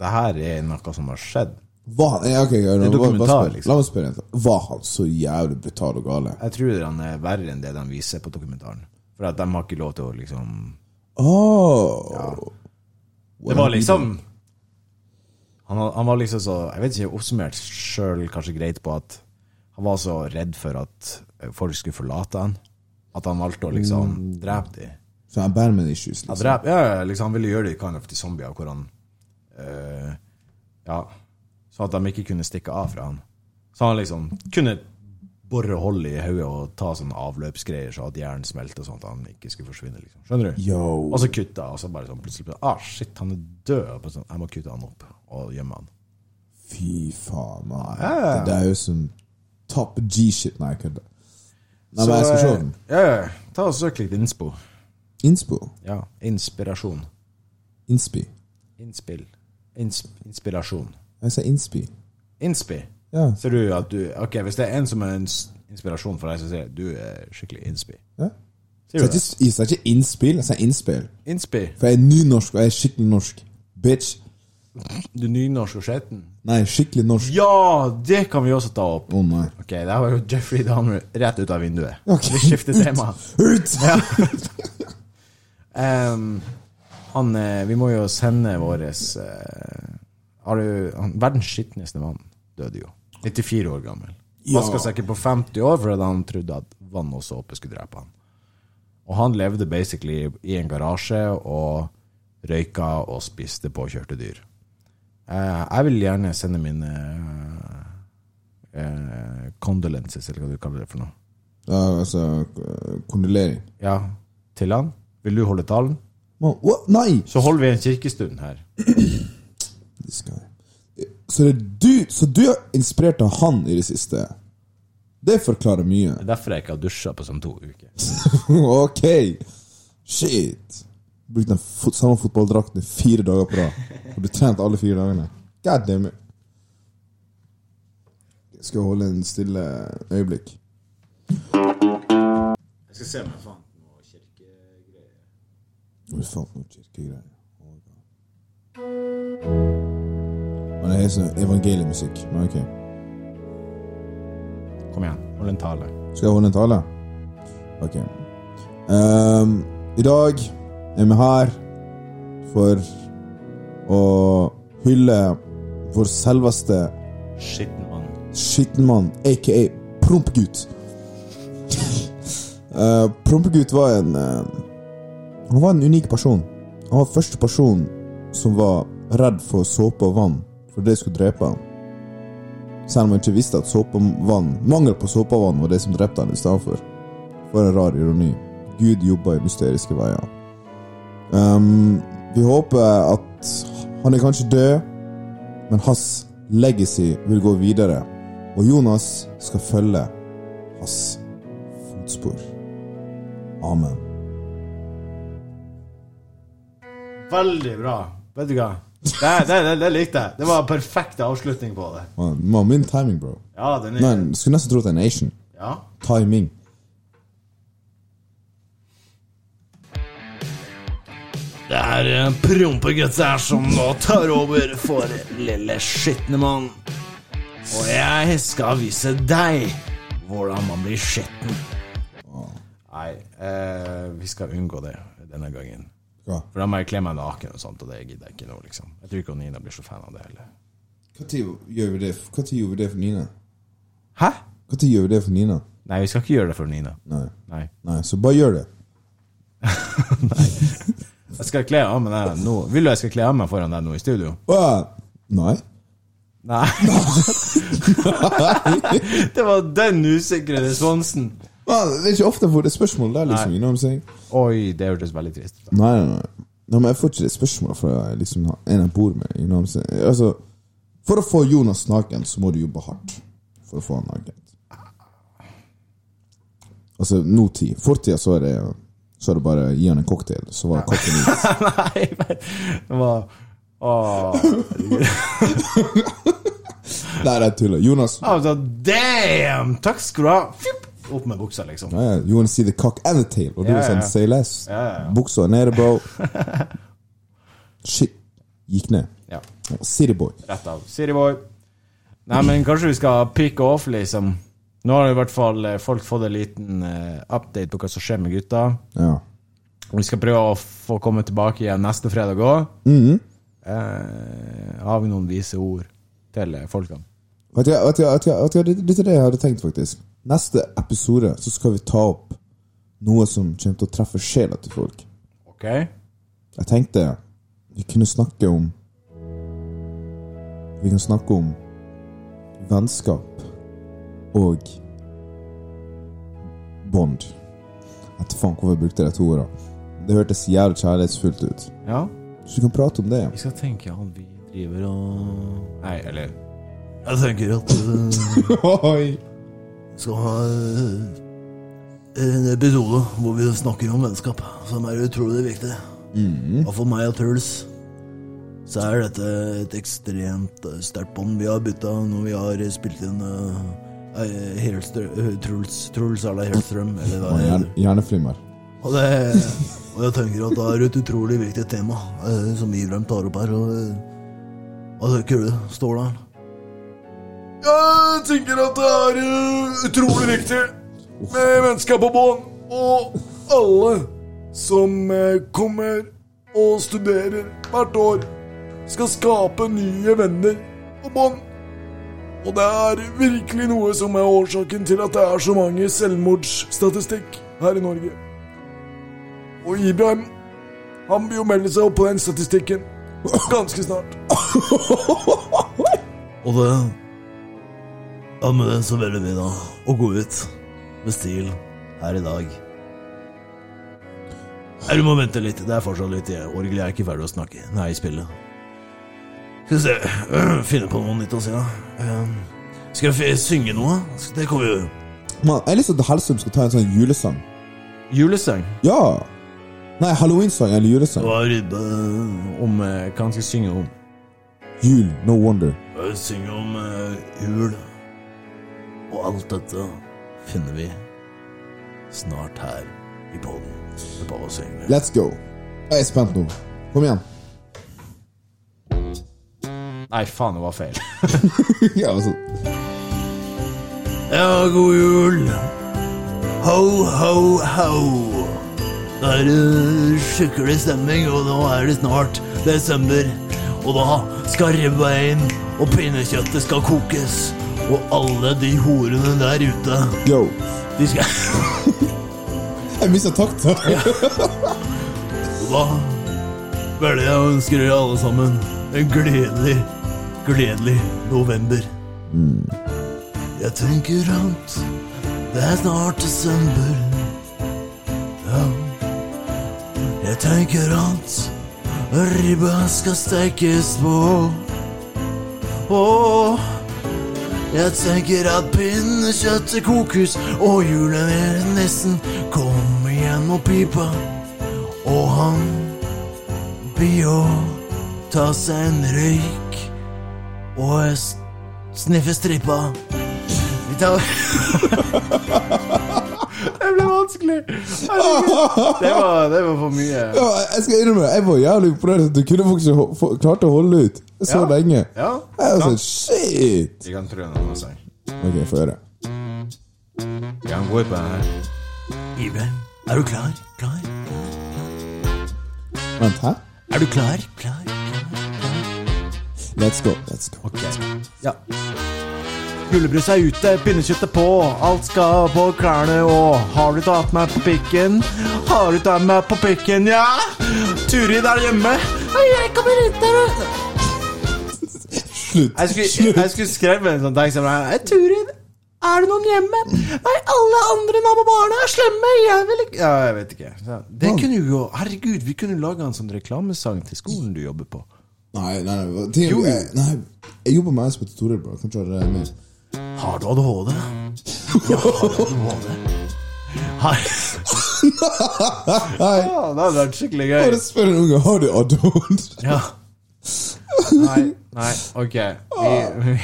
Speaker 2: det her er noe som har skjedd.
Speaker 3: Var han, ja, ok, ja, la-
Speaker 2: dokumentar,
Speaker 3: bare spør-
Speaker 2: liksom.
Speaker 3: La meg spørre en til. Var han så jævlig brutal og gale?
Speaker 2: Jeg tror han er verre enn det de viser på dokumentaren. For at de har ikke lov til å liksom
Speaker 3: Åh
Speaker 2: Det var liksom Han, var- han var liksom så Jeg vet ikke, oppsummert sjøl kanskje greit på at han var så redd for at folk skulle forlate han, at han valgte å liksom drepe dem.
Speaker 3: Så han bærer med issues,
Speaker 2: Ja,
Speaker 3: liksom.
Speaker 2: drep, ja, ja, liksom, han ville gjøre det kind of til zombier, hvor han eh, Ja. Sånn at de ikke kunne stikke av fra han. Så han liksom kunne bore hull i hodet og ta sånne avløpsgreier, så at hjernen smelter, sånn at han ikke skulle forsvinne. liksom, Skjønner du?
Speaker 3: Yo.
Speaker 2: Og så kutta, og så bare sånn plutselig bare, Ah, shit, han er død. Og bare Sånn, jeg må kutte han opp og gjemme han.
Speaker 3: Fy faen, man. Det der er jo som top G-shit. Nei, jeg kødder. Nei, men jeg skal se
Speaker 2: eh,
Speaker 3: den.
Speaker 2: Ja, ja, ta og Søk litt innspo.
Speaker 3: Innspo.
Speaker 2: Ja, Inspirasjon.
Speaker 3: Innspi.
Speaker 2: Innspill. Ins inspirasjon.
Speaker 3: Jeg sa innspi.
Speaker 2: Innspi.
Speaker 3: Ja.
Speaker 2: Ser du at du Ok, hvis det er en som er en s- inspirasjon for deg, så sier jeg du er skikkelig innspi.
Speaker 3: ja.
Speaker 2: Sier
Speaker 3: Så
Speaker 2: du
Speaker 3: jeg
Speaker 2: det?
Speaker 3: sa ikke- jeg sa ikke innspill, jeg sa innspill.
Speaker 2: Innspi.
Speaker 3: For jeg er nynorsk, og jeg er skikkelig norsk. Bitch.
Speaker 2: Du nynorsk og skjeten?
Speaker 3: Nei, skikkelig norsk.
Speaker 2: Ja, det kan vi også ta opp.
Speaker 3: Å nei.
Speaker 2: Ok, der var jo Jeffrey Dahmer rett ut av vinduet.
Speaker 3: Ok.
Speaker 2: Vi skifter tema.
Speaker 3: Ut!
Speaker 2: Em, han eh, Vi må jo sende våres eh, Har du han, Verdens skitneste mann døde jo. 94 år gammel.
Speaker 3: Ja.
Speaker 2: Vaska seg ikke på 50 år fordi han trodde at vann og såpe skulle drepe han. Og han levde basically i en garasje og røyka og spiste påkjørte dyr. Eh, jeg vil gjerne sende mine eh, eh, condolences, eller hva du kaller det for noe.
Speaker 3: Ja, altså, eh, kondolering.
Speaker 2: Ja, til han. Vil du holde talen?
Speaker 3: Man, what? Nei!
Speaker 2: Så holder vi en kirkestund her.
Speaker 3: This guy. Så, det er du, så du er inspirert av han i det siste? Det forklarer mye.
Speaker 2: Det er derfor jeg ikke har dusja på sånn to uker.
Speaker 3: ok! Shit. Brukt den fot samme fotballdrakten i fire dager på rad. Har du trent alle fire dagene? God damn it. Jeg skal holde en stille øyeblikk.
Speaker 2: Jeg skal se om jeg fant noe kirke...
Speaker 3: Hvor fant noen kirkegreier? Oh Å, ja. Men det er sånn evangeliemusikk. Men ok.
Speaker 2: Kom igjen, hold en tale.
Speaker 3: Skal jeg holde en tale? Ok. Ehm, I dag er vi her for å hylle vår selveste
Speaker 2: Skitten mann.
Speaker 3: skittenmann, aka Prompegutt. Eh, Prompegutt var en eh, Han var en unik person. Han var første person som var redd for såpe og vann, for det skulle drepe han. Selv om han ikke visste at såpe og vann, mangel på såpe og vann var det som drepte han istedenfor. For en rar ironi. Gud jobber i mysteriske veier. Ehm, vi håper at han er kanskje død, men hans legacy vil gå videre, og Jonas skal følge hans fotspor. Amen.
Speaker 2: Veldig bra. Vet du hva? Det, det, det, det likte jeg. Det var en perfekt avslutning på det.
Speaker 3: Man, man, min timing, bro.
Speaker 2: Ja, den er
Speaker 3: Nei, jeg skulle nesten tro at det er en Asian.
Speaker 2: Ja.
Speaker 3: Timing.
Speaker 1: Det eh, er prompegutta her som nå tar over for lille skitne mann. Og jeg skal vise deg hvordan man blir skitten.
Speaker 2: Nei, eh, vi skal unngå det denne gangen.
Speaker 3: Hva?
Speaker 2: For da må jeg kle meg naken og sånt, og det gidder jeg ikke nå, liksom. Jeg tror ikke Nina blir så fan av det heller.
Speaker 3: Når gjør vi det? Hva tid gjør vi det for Nina?
Speaker 2: Hæ?
Speaker 3: Når gjør vi det for Nina?
Speaker 2: Nei, vi skal ikke gjøre det for Nina.
Speaker 3: Nei.
Speaker 2: Nei.
Speaker 3: Nei, så bare gjør det.
Speaker 2: Jeg skal kle av meg deg nå. Vil du jeg skal kle av meg foran deg nå i studio?
Speaker 3: Hva? Nei.
Speaker 2: Nei. det var den usikre responsen.
Speaker 3: Hva? Det er ikke ofte jeg får det spørsmålet der, liksom.
Speaker 2: Nei.
Speaker 3: You know what I'm saying?
Speaker 2: Oi, det hørtes veldig trist ut.
Speaker 3: Nei, nei, nei. nei men jeg får ikke det spørsmålet fra liksom, en jeg bor med. You know what I'm saying? altså, for å få Jonas naken, så må du jobbe hardt. For å få han naken. Altså, nåtid. Fortida så er det Så er det bare å gi han en cocktail, så var kokken ute.
Speaker 2: Nei, men det var Åh.
Speaker 3: Nei, jeg tuller. Jonas
Speaker 2: Altså, damn! Takk skal du ha. Fjupp! Opp med buksa, liksom.
Speaker 3: ja, ja, You wanna see the cock and the tail? Og du
Speaker 2: Ja,
Speaker 3: er sånn
Speaker 2: ja.
Speaker 3: Say less. Buksa er nede, bro. Shit. Gikk ned.
Speaker 2: Ja,
Speaker 3: Cityboy.
Speaker 2: Rett av. Siriboy. Nei, men kanskje vi skal pick off, liksom. Nå har i hvert fall eh, folk fått en liten eh, update på hva som skjer med gutta.
Speaker 3: Ja.
Speaker 2: Vi skal prøve å få komme tilbake igjen neste fredag òg. Mm. eh, har vi noen vise ord til eh, folkene?
Speaker 3: Vet du, vet du, vet du, vet du, det- det er det jeg hadde tenkt, faktisk. Neste episode så skal vi ta opp noe som kommer til å treffe sjela til folk.
Speaker 2: OK?
Speaker 3: Jeg tenkte vi kunne snakke om Vi kan snakke om vennskap og bånd. Jeg vet faen hvorfor jeg brukte de to ordene. Det hørtes jævlig kjærlighetsfullt ut.
Speaker 2: Ja?
Speaker 3: Så vi kan prate om det.
Speaker 2: Vi skal tenke at vi driver og Nei, eller Jeg tenker at vi
Speaker 3: Oi.
Speaker 1: eh, Skal ha eh, en episode hvor vi snakker om vennskap, som er utrolig viktig. Og for meg og Truls så er dette et ekstremt eh, sterkt bånd vi har bytta når vi har spilt inn eh, eh, Helstrø- eh, Truls Truls à la Helstrøm, eller
Speaker 3: Og
Speaker 1: hva det heter.
Speaker 3: hjerne- Hjerneflimmer.
Speaker 1: Og, det, og jeg tenker at det er et utrolig viktig tema eh, som Ibrahim tar opp her. Og, eh, hva tenker du, Stålan?
Speaker 4: Jeg tenker at det er eh, utrolig viktig med mennesker på bånd. Og alle som eh, kommer og studerer hvert år, skal skape nye venner og bånd. Og det er virkelig noe som er årsaken til at det er så mange selvmordsstatistikk her i Norge. Og Ibrahim, han vil jo melde seg opp på den statistikken ganske snart.
Speaker 1: Og det Ja, med det så velger vi da å gå ut med stil her i dag. Nei, du må vente litt. Det er fortsatt litt jeg- orgel. Jeg er ikke ferdig å snakke. Nei, spille. Skal vi se øh, Finne på noe nytt å si, da. Ehm, Skal vi synge noe? Det kan vi gjøre.
Speaker 3: Man, jeg har lyst til at Hellstrøm skal ta en sånn julesang.
Speaker 2: Julesang
Speaker 3: Ja! Nei, halloweensang eller julesang.
Speaker 1: Det var ribbe
Speaker 2: om eh, hva han skal synge om.
Speaker 3: Jul, no wonder.
Speaker 1: Jeg synger om eh, jul. Og alt dette finner vi snart her i podden. Det er bare å synge.
Speaker 3: Let's go. Jeg er spent nå. Kom igjen.
Speaker 2: Nei, faen, det var feil.
Speaker 3: ja, altså.
Speaker 1: Ja, god jul. Ho, ho, ho. Da er det skikkelig stemning, og nå er det snart desember. Og da skal ribba inn, og pinnekjøttet skal kokes. Og alle de horene der ute,
Speaker 3: Yo.
Speaker 1: de skal
Speaker 3: Jeg mista takta.
Speaker 1: Da velger jeg å ønske dere alle sammen en gledelig, gledelig november. Jeg tenker at det er snart desember. Ja. Jeg tenker at ribba skal stekes på. Og jeg tenker at pinnekjøttet kokes, og julen er nesten. Kom igjen og pipa. Og han blir å ta seg en røyk og jeg s- sniffe stripa. Vi
Speaker 2: til å Det ble vanskelig. Herregud. Det var, det var for mye.
Speaker 3: Ja, jeg skal innrømme, jeg var jævlig imponert at du kunne faktisk ho- få- klarte å holde ut så
Speaker 2: Ja.
Speaker 3: lenge.
Speaker 2: Ja.
Speaker 3: Jeg var sånn, shit!
Speaker 1: Vi kan prøve en annen sang.
Speaker 3: Ok, få høre.
Speaker 1: Vi kan gå ut på den her.
Speaker 2: Iben, er du klar? Klar?
Speaker 3: Vent, hæ?
Speaker 2: Er du klar? Klar?
Speaker 3: Let's go, let's go.
Speaker 2: Ja. Julebrus er ute, pinnekjøttet på, alt skal på klærne og Har du tatt meg på pikken? Har du tatt meg på pikken, ja? Turid er hjemme. Hei, Jeg kommer ut der og
Speaker 3: Slutt.
Speaker 2: Jeg skulle, jeg skulle skrevet en sånn tekst som det her. «Hei, Turid, er det noen hjemme? Nei, alle andre nabobarna er slemme. Jeg vil ikke Ja, jeg vet ikke. Så sånn. Det kunne jo Herregud, vi kunne laga en sånn reklamesang til skolen du jobber på.
Speaker 3: Nei, nei, nei. Ting,
Speaker 2: Jo, jo.
Speaker 3: jeg, nei. Jeg jobber med Espen Toril, bro. Kan ikke ha det med.
Speaker 2: Har du ADHD? Ja, har du ADHD? Har...
Speaker 3: Nei,
Speaker 2: Ja, det hadde vært skikkelig gøy.
Speaker 3: bare spør en unge, har du adon?
Speaker 2: Ja. Nei, nei, ok. Vi, vi,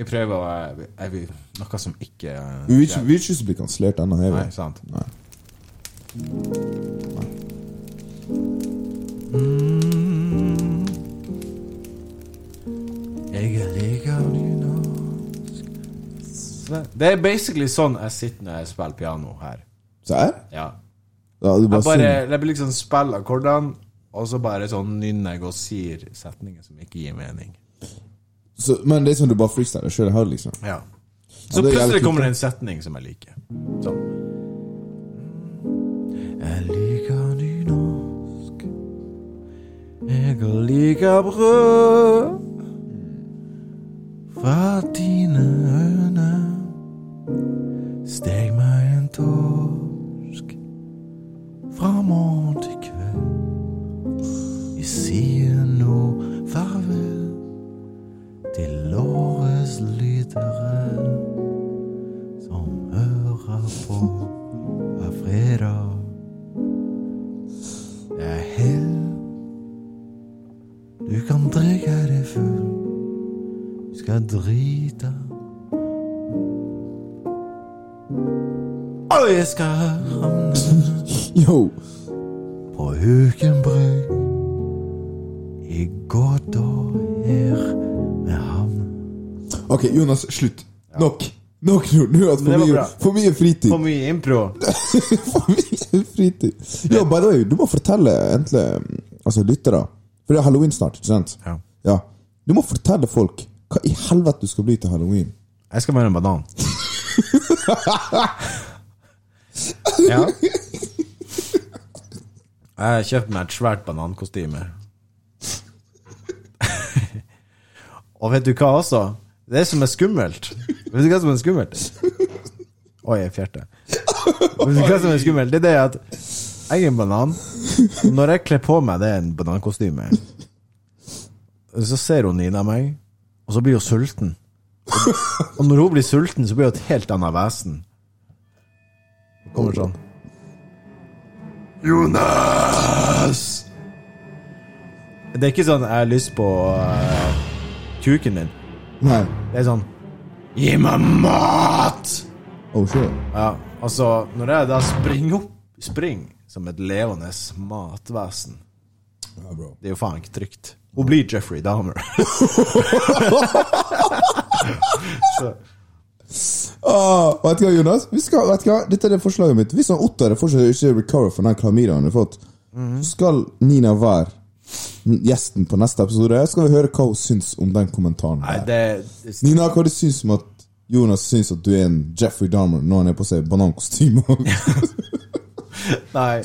Speaker 2: vi prøver å eh, er vi, Noe som ikke
Speaker 3: Vi vil ikke- vi vil ikke bli kanslert ennå, jeg
Speaker 1: Nei,
Speaker 3: vet.
Speaker 1: sant.
Speaker 3: Nei.
Speaker 2: Jeg liker dynamisk Det er basically sånn jeg sitter når jeg spiller piano her.
Speaker 3: Så her?
Speaker 2: Ja.
Speaker 3: Ja, du
Speaker 2: Jeg
Speaker 3: bare,
Speaker 2: bare
Speaker 3: synger.
Speaker 2: jeg liksom spiller akkordene, og så bare sånn nynner jeg og sier setninger som ikke gir mening.
Speaker 3: Så, men det er som du bare freestyler sjøl her, liksom.
Speaker 2: Ja. Så
Speaker 3: det er jævlig
Speaker 2: plutselig
Speaker 3: kult,
Speaker 2: kommer det en setning som jeg liker. Sånn. Jeg liker nynorsk. Jeg liker brød fra dine øyne. Steg meg en torsk fra morgen til kveld. Vi sier nå farvel til årets lyttere som hører på hver fredag. Det er hell. Du kan drikke deg full. Du skal drite. Og jeg skal havne
Speaker 3: Yo!
Speaker 2: på Huken brygg. I gata her ved havnen.
Speaker 3: Ok, Jonas, slutt. Nok. Nok nå. Nå har jeg hatt
Speaker 2: det
Speaker 3: for
Speaker 2: var
Speaker 3: mye,
Speaker 2: bra.
Speaker 3: for mye fritid.
Speaker 2: For mye impro.
Speaker 3: For mye fritid. Ja, by the way, du må fortelle egentlig Altså lyttere. For det er halloween snart, ikke sant?
Speaker 1: Ja.
Speaker 3: ja. Du må fortelle folk hva i helvete du skal bli til halloween.
Speaker 1: Jeg skal være en banan. ja. Jeg har kjøpt meg et svært banankostyme.
Speaker 2: Og vet du hva også? Det som er skummelt Vet du hva som er skummelt? Oi, jeg fjerte. Vet du hva som er skummelt? Det er det at jeg er en banan. Og når jeg kler på meg det er en banankostyme, så ser hun Nina meg, og så blir hun sulten. Og når hun blir sulten, så blir hun et helt annet vesen. Hun Kommer sånn. Jonas! Det er ikke sånn jeg har lyst på eh, kuken din.
Speaker 3: Nei.
Speaker 2: Det er sånn Gi meg mat!
Speaker 3: Oh, shit.
Speaker 2: Ja, altså, når jeg da springer opp Spring som et levende matvesen.
Speaker 3: Ja, bro.
Speaker 2: Det er jo faen ikke trygt. Hun blir Jeffrey Dahmer.
Speaker 3: Ah, vet du hva, Jonas? Vi skal, vet du hva? Dette er det forslaget mitt. Hvis han Ottar fortsatt ikke recover fra den klamydiaen han har fått,
Speaker 2: Mhm.
Speaker 3: så skal Nina være gjesten på neste episode. Så skal vi høre hva hun syns om den kommentaren.
Speaker 2: Nei,
Speaker 3: der.
Speaker 2: det,
Speaker 3: Nina, hva du syns om at Jonas syns at du er en Jeffrey Dahmer når han er på seg banankostyme?
Speaker 2: nei,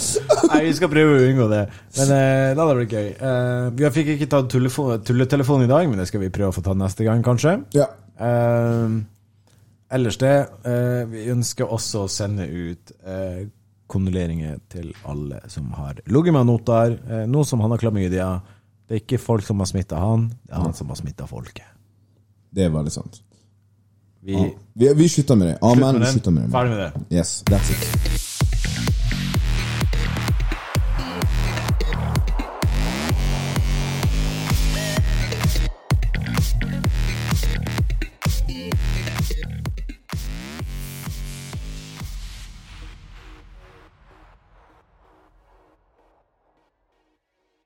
Speaker 2: nei, vi skal prøve å unngå det. Men eh, det hadde blitt gøy. Eh, vi fikk ikke tatt tullefo- tulletelefonen i dag, men det skal vi prøve å få tatt neste gang, kanskje.
Speaker 3: ja.
Speaker 2: Eh, ellers det. eh, vi ønsker også å sende ut eh, kondoleringer til alle som har ligget med noter. Uh, nå som han har klamydia. Det er ikke folk som har smitta han, det er han som har smitta folket.
Speaker 3: Det er veldig sant.
Speaker 2: Vi
Speaker 3: Vi, vi slutter med det. Amen.
Speaker 2: med
Speaker 3: Vi
Speaker 2: den.
Speaker 3: slutter med det.
Speaker 2: Ferdig med det.
Speaker 3: Yes, that's it.